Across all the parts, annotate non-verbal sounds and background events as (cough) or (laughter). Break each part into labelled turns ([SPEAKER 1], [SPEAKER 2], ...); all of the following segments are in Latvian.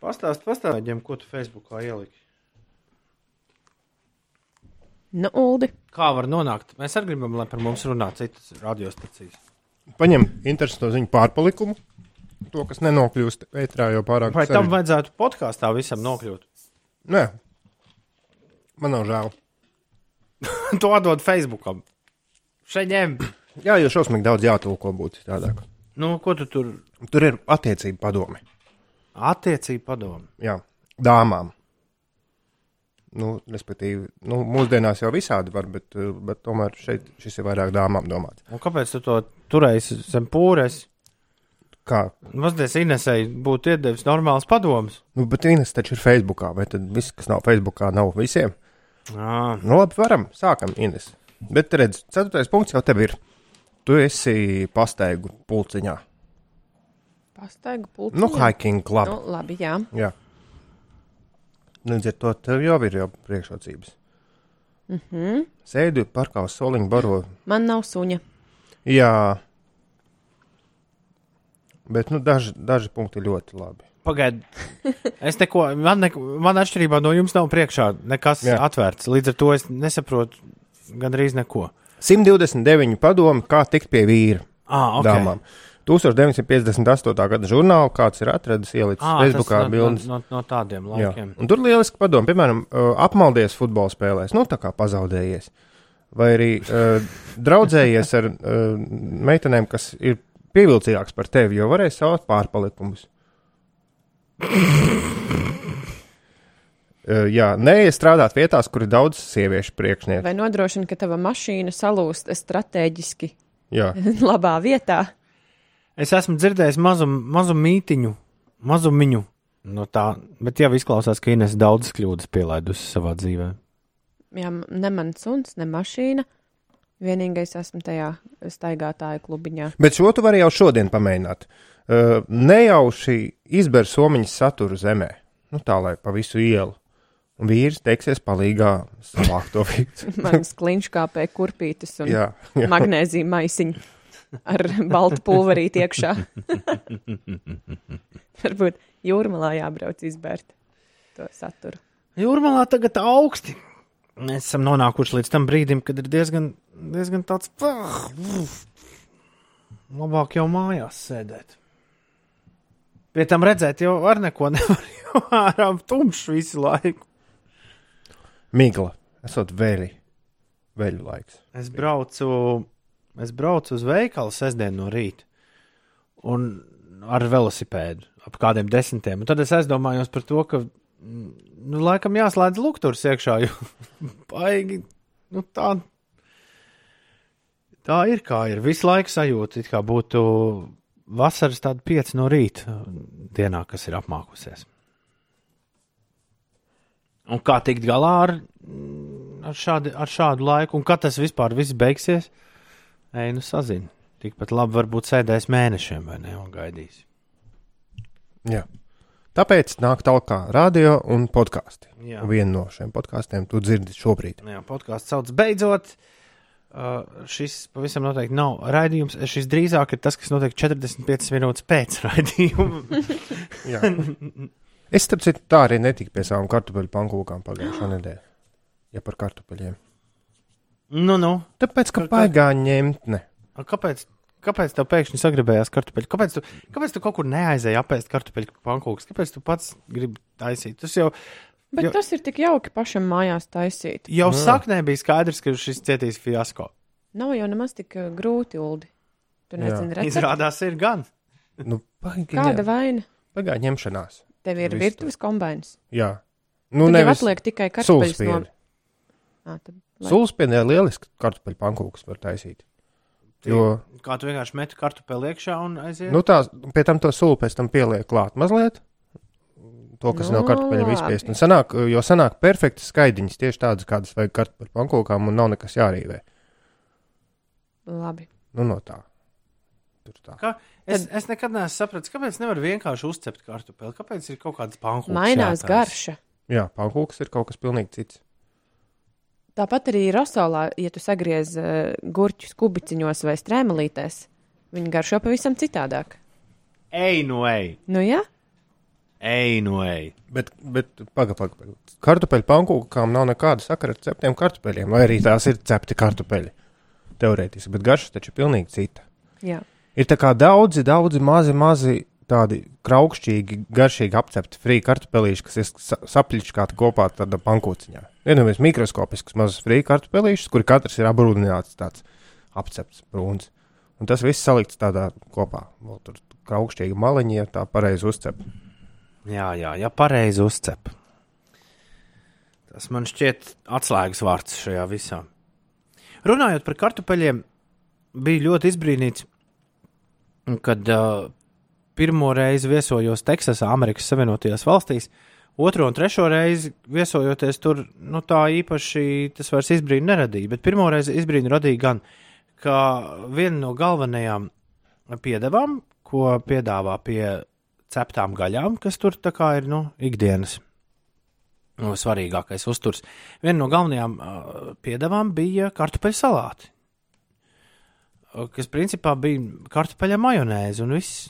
[SPEAKER 1] Pastāst, pastāstiem, ko tu Facebookā ieliki.
[SPEAKER 2] Nu, Uldi.
[SPEAKER 1] Kā var nonākt? Mēs arī gribam, lai par mums runā citas radiostacijas.
[SPEAKER 3] Paņem interesantu ziņu pārpalikumu. To, kas nenokļūst ētrā, jau pārāk
[SPEAKER 1] Vai tam
[SPEAKER 3] sarežģīti.
[SPEAKER 1] vajadzētu podkāstā visam (laughs) nokļūt?
[SPEAKER 3] Nē, man nav žēl.
[SPEAKER 1] to dod Facebookam. Šeņem.
[SPEAKER 3] Jā, jo šausmīgi daudz jātulko būtu citādāk.
[SPEAKER 1] Nu, ko tu tur
[SPEAKER 3] Tur ir attiecība padomi.
[SPEAKER 1] attiecīgi padomi?
[SPEAKER 3] Jā, dāmām. Nu, respektīvi, nu, mūsdienās jau visādi var, bet, uh, bet tomēr šeit šis ir vairāk dāmām domāts.
[SPEAKER 1] Un kāpēc tu to turēji zem pūres?
[SPEAKER 3] Kā?
[SPEAKER 1] Mazliet Inesai būtu iedevis normāls padoms.
[SPEAKER 3] Nu, bet Inês taču ir Facebookā, vai tad viss, kas nav Facebookā, nav visiem?
[SPEAKER 1] Jā,
[SPEAKER 3] Nu, labi, varam, sākam, Inês. Bet, redz, ceturtais punkts jau tev ir. Tu esi pastaigu pulciņā.
[SPEAKER 2] Pastaigu pulciņā.
[SPEAKER 3] Nu, hiking club.
[SPEAKER 2] Nu, labi, jā.
[SPEAKER 3] Jā. Līdz ar to tev jau ir jau priekšrocības. Mhm. Sēdi parkā uz soliņa baro.
[SPEAKER 2] Man nav suņa.
[SPEAKER 3] Jā. Bet, nu, daži, daži punkti ļoti labi.
[SPEAKER 1] pagaidi. Es neko, man, neko, man atšķirībā no jums nav priekšā nekas Jā.
[SPEAKER 3] Jā.
[SPEAKER 1] atvērts. Līdz ar to es nesaprotu gandrīz neko.
[SPEAKER 3] 129 padomi, kā tikt pie vīra
[SPEAKER 1] Ah,
[SPEAKER 3] okay. dāmām. 1958. gada žurnālā kāds ir atradis ielicis
[SPEAKER 1] Ah,
[SPEAKER 3] ah, Facebookā
[SPEAKER 1] tas no,
[SPEAKER 3] bildes.
[SPEAKER 1] no, no, no tādiem
[SPEAKER 3] Jā.
[SPEAKER 1] laikiem.
[SPEAKER 3] Un tur lieliski padomu, piemēram, uh, apmaldies futbola spēlēs, nu tā kā pazaudējies. Vai arī uh, draudzējies ar uh, meitenēm, kas ir pievilcīgākas par tevi, jo varēja savākt pārpalikumus. Uh, jā, nē, strādāt vietās, kur ir daudz sieviešu priekšnieku.
[SPEAKER 2] Vai nodrošina, ka tava mašīna salūst strateģiski (laughs)
[SPEAKER 3] Jā,
[SPEAKER 2] labā vietā?
[SPEAKER 1] Es esmu dzirdējis mazu, mazu mītiņu, mazu miņu. No tā, bet jau izklausās, ka Ines daudzas kļūdas pielaidusi savā dzīvē.
[SPEAKER 2] Jā, m- ne mans suns, ne mašīna. Vienīgais esmu tajā staigātāju klubiņā. (laughs)
[SPEAKER 3] bet šo tu vari jau šodien pamēģināt. Uh, nejauši izber somiņas saturu zemē, nu tā lai pa visu ielu. Un vīrs teiksies palīgā savākt to vīru.
[SPEAKER 2] Manas kliņš kāpē kurpītas un
[SPEAKER 3] Jā, jā.
[SPEAKER 2] magnēzija maisiņu ar baltu pulverīti
[SPEAKER 3] (laughs)
[SPEAKER 2] iekšā. Varbūt jūrmalā jābrauc izbērt to saturu.
[SPEAKER 1] Jūrmalā tagad augsti. Mēs esam nonākuši līdz tam brīdim, kad ir diezgan, diezgan tāds pah, uf. labāk jau mājās sēdēt. Pie tam redzēt, jau ar neko nevar (laughs) jau ārā tumšs visu laiku.
[SPEAKER 3] Migla, esot vēļi, vēļu laiks.
[SPEAKER 1] Es braucu, es braucu uz veikalu sestdien no rīta un ar velosipēdu ap kādiem desmitiem. Un tad es aizdomājos par to, ka mm, nu, laikam jāslēdz lukturs iekšā, jo (laughs) baigi nu, tā. Tā ir kā ir. Visu laiku sajūta, it kā būtu vasaras tāda pieci no rīta mm, dienā, kas ir apmākusies. Un kā tikt galā ar ar, šādi, ar šādu laiku, un kad tas vispār viss beigsies, ej, nu sazini. Tikpat labi, varbūt sēdēs mēnešiem, vai ne? Un gaidīs.
[SPEAKER 3] Jā. Tāpēc nāk tālāk radio un podkāsti.
[SPEAKER 1] Jā.
[SPEAKER 3] Vienu no šiem podkāstiem tu dzirdi šobrīd.
[SPEAKER 1] Jā, podkāsts sauc beidzot. Uh, šis pavisam noteikti nav raidījums. Eh, Šis drīzāk ir tas, kas notiek 45 minūtes pēc (laughs) raidījuma.
[SPEAKER 3] Jā. es starp citu tā arī netiku pie savām kartupeļu pankūkām pagājušā nedēļā. Ja par kartupeļiem.
[SPEAKER 1] nu, nu.
[SPEAKER 3] Tāpēc, ka paigā ņemt, ne.
[SPEAKER 1] A, Kāpēc? Kāpēc tev pēkšņi sagribējās kartupeļu? Kāpēc tu, kāpēc tu kaut kur neaizēji apēst kartupeļu pankūkus? Kāpēc tu pats gribi taisīt? Tas jau,
[SPEAKER 2] Bet
[SPEAKER 1] Jo-
[SPEAKER 2] jo... tas ir tik jauki pašam mājās taisīt.
[SPEAKER 1] jau saknē bija skaidrs, ka šis cietīs fiasko.
[SPEAKER 2] Nav jau nemaz tik uh, grūti, Uldi. Tu nezini, redzēt,
[SPEAKER 1] Izrādās, ir gan.
[SPEAKER 3] Nu, paigā
[SPEAKER 2] kāda
[SPEAKER 3] ņem-
[SPEAKER 2] vaina
[SPEAKER 3] paigā ņemšanās.
[SPEAKER 2] tev ir
[SPEAKER 3] Visu.
[SPEAKER 2] virtuves kombinācija.
[SPEAKER 3] Jā.
[SPEAKER 2] Tur
[SPEAKER 3] Nu,
[SPEAKER 2] jau
[SPEAKER 3] nevis
[SPEAKER 2] atliek tikai kartupeļus no.
[SPEAKER 3] sulspieni.
[SPEAKER 2] Ā, tad, lai...
[SPEAKER 3] Sulspienē lieliski kartupeļu pankūkas var taisīt. Jo
[SPEAKER 1] Kā tu vienkārši meti kartupeli iekšā un aiziet?
[SPEAKER 3] Nu, tā, pie tam to sulu pēc tam pieliek klāt mazliet. To, kas
[SPEAKER 2] Nu,
[SPEAKER 3] no, nav kartupeļiem
[SPEAKER 2] labi.
[SPEAKER 3] izspiest. Un sanāk, jo sanāk perfektas skaidiņas, tieši tādas, kādas vajag kartupeļu pankūkām, un nav nekas jārīvē.
[SPEAKER 2] Labi.
[SPEAKER 3] Nu, no tā. Tur tā.
[SPEAKER 1] Kā, es, es nekad neesmu sapratis, kāpēc nevar vienkārši uzcept kartupeli. Kāpēc ir kaut kādas pankūkas?
[SPEAKER 2] Mainās
[SPEAKER 1] jātais?
[SPEAKER 2] garša.
[SPEAKER 3] Jā, pankūks ir kaut kas pilnīgi cits.
[SPEAKER 2] Tāpat arī rasolā, ja tu sagriez uh, gurķus kubiņos vai strēmelītēs, viņi garšo pavisam citādāk.
[SPEAKER 1] Ej, nu ej.
[SPEAKER 2] Nu, jā,
[SPEAKER 1] Ej, nu ej.
[SPEAKER 3] Bet, bet pagaidi, pagaidi. Kartupeļu pankūkām nav nekāda sakara ar ceptiem kartupeļiem, vai arī tās ir cepti kartupeļi. Teorētiski, bet garša taču ir pilnīgi cita.
[SPEAKER 2] Jā,
[SPEAKER 3] Ir tā kā daudzi, daudzi mazi, mazi tādi graukšķīgi, garšīgi apcepti frīķi kartupelīši, kas ir sa- sapļķināti kopā tādā pankūciņā. Vienmēr mikroskopisks mazs frīķi kartupelīšs, kur katrs ir abrūdināts tāds apcepts brūns. Un tas viss salikts tādā kopā. Vēl tur graukšķīgi maliņi, ja tā pareizi uzcep.
[SPEAKER 1] Jā, jā, ja pareizi uzcep. Tas man šķiet atslēgas vārds šajā visā. Runājot par kartupeļiem, bija ļoti izbrīnīts, kad uh, pirmo reizi viesojos Teksasā, Amerikas Savienotajās valstīs. Otro un trešo reizi viesojoties tur, nu tā īpaši tas vairs izbrīnu neradīja. Bet pirmo reizi izbrīnu radīja gan, ka viena no galvenajām piedevām, ko piedāvā pie ceptām gaļām, kas tur tā kā ir nu, ikdienas nu, svarīgākais uzturs. Viena no galvenajām uh, piedevām bija kartupeļu salāti, uh, kas principā bija kartupeļa majonēze un viss.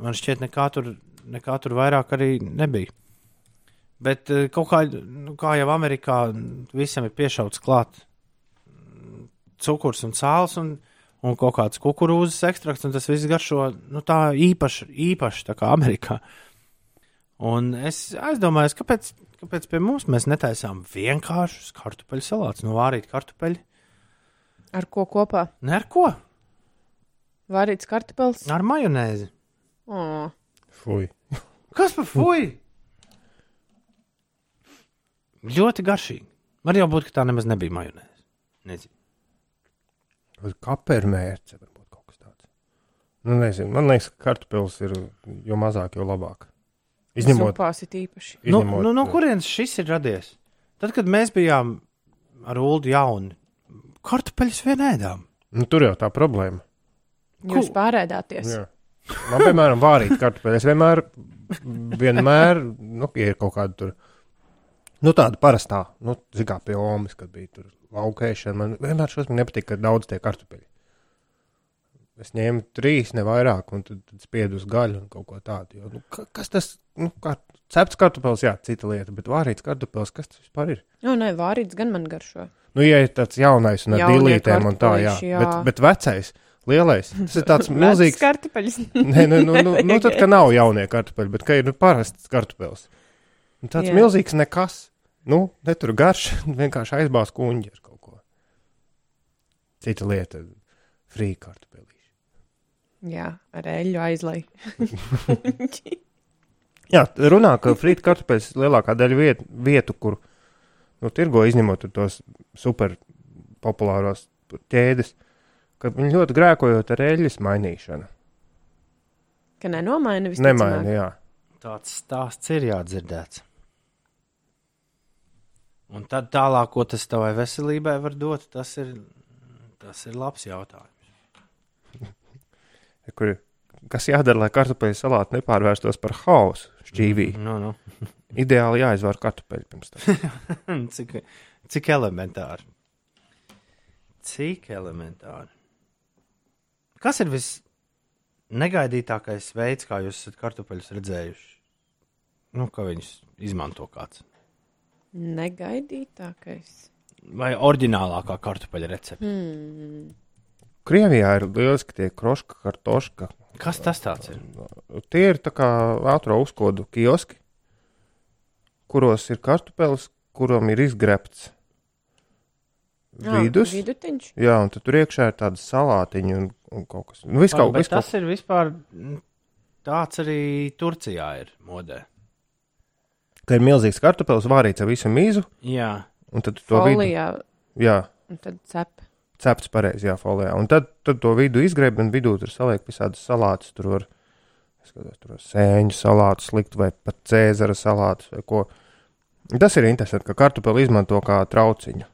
[SPEAKER 1] Man šķiet, nekā tur, nekā tur vairāk arī nebija. Bet uh, kaut kā, nu, kā jau Amerikā, n- visam ir piešauts klāt mm, cukurs un sāls. Un, un kaut kāds kukurūzas ekstrakts, un tas viss garšo nu, tā īpaši, īpaši tā kā Amerikā. Un es aizdomājos, kāpēc, kāpēc pie mums mēs netaisām vienkāršus kartupeļu salātus, nu, vārīt kartupeļu.
[SPEAKER 2] ar ko kopā?
[SPEAKER 1] Nē, ar ko?
[SPEAKER 2] Vārīts kartupels.
[SPEAKER 1] Ar majonēzi.
[SPEAKER 2] Oh.
[SPEAKER 3] Fui.
[SPEAKER 1] Kas par fuju? Ļoti garšīgi. Var jau būt, ka tā nemaz nebija majonēze. Nezinu.
[SPEAKER 3] Kapermērce varbūt kaut kas tāds. Nu, nezinu. Man liekas, ka kartupils ir jo mazāk, jo labāk. Izņemot.
[SPEAKER 2] Supās ir īpaši.
[SPEAKER 1] Nu,
[SPEAKER 3] izņemot
[SPEAKER 1] nu, no kurienes šis ir radies? Tad, kad mēs bijām ar Ulu jauni, kartupeļus vienēdām.
[SPEAKER 3] Nu, tur jau tā problēma.
[SPEAKER 2] Jūs
[SPEAKER 1] Ko?
[SPEAKER 2] pārēdāties.
[SPEAKER 3] Jā. Man, piemēram, vārīt kartupeļus. Es vienmēr, vienmēr, nu, ja ir kaut kāda tur, nu, tāda parastā, nu, zin kā pie Omas, kad bija tur laukēšana. Man vienmēr šos man nepatika, ka daudz tie kartupeļi. Es ņēmu trīs, ne vairāk, un tad, tad spiedu uz gaļu un kaut ko tādu. Jo, nu, ka- kas tas, nu, kā cepts kartupeļs, jā, cita lieta, bet vārīts kartupeļs, kas tas vispār ir?
[SPEAKER 2] Jā, nē, vārīts gan man garšo.
[SPEAKER 3] Nu, ja ir tāds jaunais un ar
[SPEAKER 2] Jaunie
[SPEAKER 3] dīlītēm un tā, jā,
[SPEAKER 2] kartupeļi, jā.
[SPEAKER 3] bet, bet vecais, lielais, tas ir tāds
[SPEAKER 2] (laughs) Vecs
[SPEAKER 3] milzīgs.
[SPEAKER 2] kartupeļs.
[SPEAKER 3] (laughs) Nē, nu, nu, nu, nu tad,
[SPEAKER 2] Nevajag.
[SPEAKER 3] kad nav jaunie kartupeļi, bet ka ir nu, parasts kartupeļs. Un Tāds
[SPEAKER 2] Jā.
[SPEAKER 3] Jā. milzīgs nekas. Nu, ne tur garš, (laughs) vienkārši aizbāz kuņģi ar kaut ko. Cita lieta - frī kartupelīši.
[SPEAKER 2] Jā, ar eļļu aizlai.
[SPEAKER 3] Jā, runā, ka frī kartupeļs lielākā daļa viet, vietu, kur nu, tirgo izņemot tur tos super populāros tur ķēdes, ka viņi ļoti grēkojot ar eļļas mainīšanu.
[SPEAKER 2] Ka nenomaina vispār.
[SPEAKER 3] Nemaini, jā.
[SPEAKER 1] Tāds stāsts ir jādzirdēts. Un tad tālāk, ko tas tavai veselībai var dot, tas ir, tas ir labs jautājums.
[SPEAKER 3] kur, kas jādara, lai kartupeļu salāti nepārvērstos par haosu šķīvī.
[SPEAKER 1] Nu, nu.
[SPEAKER 3] Ideāli jāizvāra kartupeļi pirms tam. (laughs)
[SPEAKER 1] Hmm, Cik, cik elementāri. Cik elementāri. Kas ir visnegaidītākais veids, kā jūs esat kartupeļus redzējuši? Nu, kā viņus izmanto kāds.
[SPEAKER 2] Negaidītākais.
[SPEAKER 1] Vai oriģinālākā kartupeļa recepte?
[SPEAKER 2] Hmm.
[SPEAKER 3] Krievijā ir lieliski tie kroška, kartoška.
[SPEAKER 1] Kas tas tāds ir?
[SPEAKER 3] Tie ir tā kā ātrā uzkodu kioski, kuros ir kartupeļs, kuram ir izgrebts
[SPEAKER 2] Ah,
[SPEAKER 3] vidus.
[SPEAKER 2] Vidutiņš.
[SPEAKER 3] Jā, un tad tur iekšā ir tāda salātiņa un, un kaut kas. Nu, viss kaut
[SPEAKER 1] Bet
[SPEAKER 3] kas
[SPEAKER 1] tas ir vispār mm, tāds arī Turcijā ir modē.
[SPEAKER 3] Ka ir milzīgs kartupeļs, vārīts ar visu mīzu,
[SPEAKER 1] Jā,
[SPEAKER 3] un tad tu to vidu.
[SPEAKER 2] Polijā.
[SPEAKER 3] Jā,
[SPEAKER 2] Un tad cep.
[SPEAKER 3] cepts pareizi, jā, folijā. Un tad, tad to vidu izgriež, un vidū tur saliek visādas salātas. Tur var, es skatos, tur var sēņu salātu slikt, vai pat cēzara salātus, vai ko. Tas ir interesanti, ka kartupeli izmanto kā trauciņu.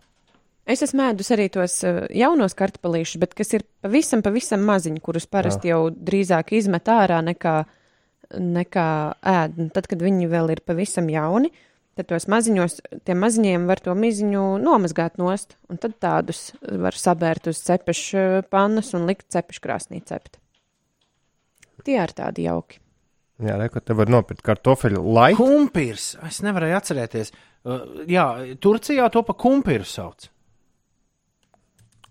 [SPEAKER 2] Es esmu ēdus arī tos uh, jaunos kartupelīšus, bet kas ir pavisam, pavisam maziņi, kurus parasti jau drīzāk izmet ārā nekā, nekā ēd. Un Tad, kad viņi vēl ir pavisam jauni, tad tos maziņos, tiem maziņiem var to miziņu nomazgāt nost, un tad tādus var sabērt uz cepešu eh, pannas un likt cepešu krāsnī cept. Tie ir tādi jauki.
[SPEAKER 3] Jā, reku, te var nopirkt kartofeļu laiku.
[SPEAKER 1] Kumpirs. Es nevarēju atcerēties. Uh, jā, Turcijā to pa kumpiru sauc.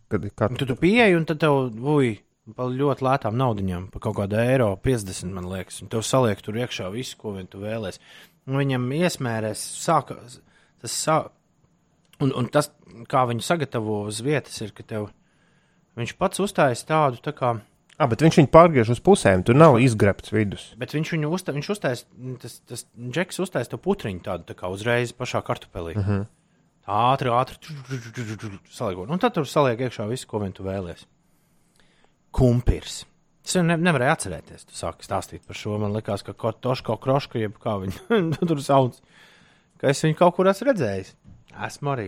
[SPEAKER 3] Kad ir
[SPEAKER 1] Un
[SPEAKER 3] kat...
[SPEAKER 1] Tad tu pieeji un tad tev uj, pa ļoti lētām naudaiņām, pa kaut kādu eiro 50, man liekas. Un tev saliek tur iekšā visu, ko vien tu vēlēsies. Un Viņam iesmērēs, sākās tas sā... un, un tas, kā viņu sagatavo uz vietas, ir, ka tev viņš pats uztājas tādu tā kā.
[SPEAKER 3] ah, bet viņš viņu pārgriež uz pusēm, tur nav izgrebts vidus.
[SPEAKER 1] Bet viņš viņu uzta, viņš uztais, tas, tas džeks uztais to putriņu tādu tā kā uzreiz pašā kartupelī. Uh -huh. Ātri, ātri tru- tru- tru- tru- tru- saliekot. Un tad tur saliek iekšā visu, ko vien tu vēlies. Kumpirs. Es jau ne, nevarēju atcerēties, tu sāki stāstīt par šo. Man liekas, ka Kotoško Kroška, jeb kā viņa (laughs) tur sauc, ka es viņu kaut kur esmu redzējis. Esmu arī.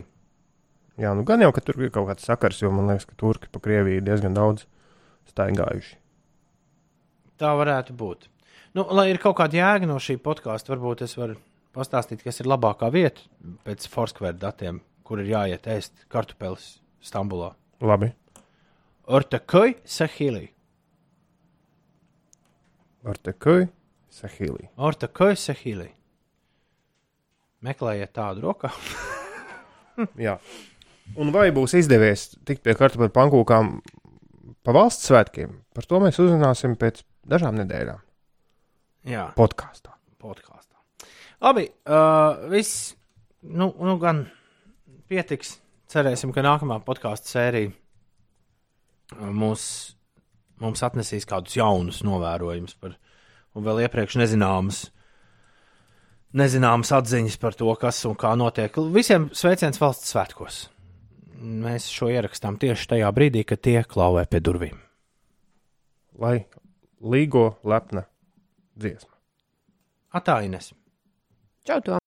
[SPEAKER 3] Jā, nu gan jau, ka tur ir kaut kāds sakars, jo man liekas, ka turki pa Krieviju diezgan daudz staigājuši.
[SPEAKER 1] Tā varētu būt. Nu, lai ir kaut kāda jēga no šī podkāsta, varbūt es varu pastāstīt, kas ir labākā vieta pēc Foursquare datiem, kur ir jāiet ēst kartupeļus Stambulā.
[SPEAKER 3] Labi,
[SPEAKER 1] Ortakai Sahilī.
[SPEAKER 3] ar te kuģi, sahīlī.
[SPEAKER 1] Ortakai Sahilī. Meklējiet tādu rokā.
[SPEAKER 3] Jā. Un vai būs izdevies tikt pie kartupeļu pankūkām pa valsts svētkiem? Par to mēs uzzināsim pēc dažām nedēļām
[SPEAKER 1] Jā,
[SPEAKER 3] podkāstā.
[SPEAKER 1] podkāstā. Labi, uh, viss. Nu, nu, gan pietiks. Cerēsim, ka nākamā podkāstu sērija uh, mūs, mums atnesīs kādus jaunus novērojumus par, un vēl iepriekš nezināmus. Nezināmas atziņas par to, kas un kā notiek. Visiem sveiciens valsts svētkos. Mēs šo ierakstām tieši tajā brīdī, kad tie klauvē pie durvīm.
[SPEAKER 3] Lai līgo lepna dziesma.
[SPEAKER 1] Atāines!
[SPEAKER 2] Čau, to!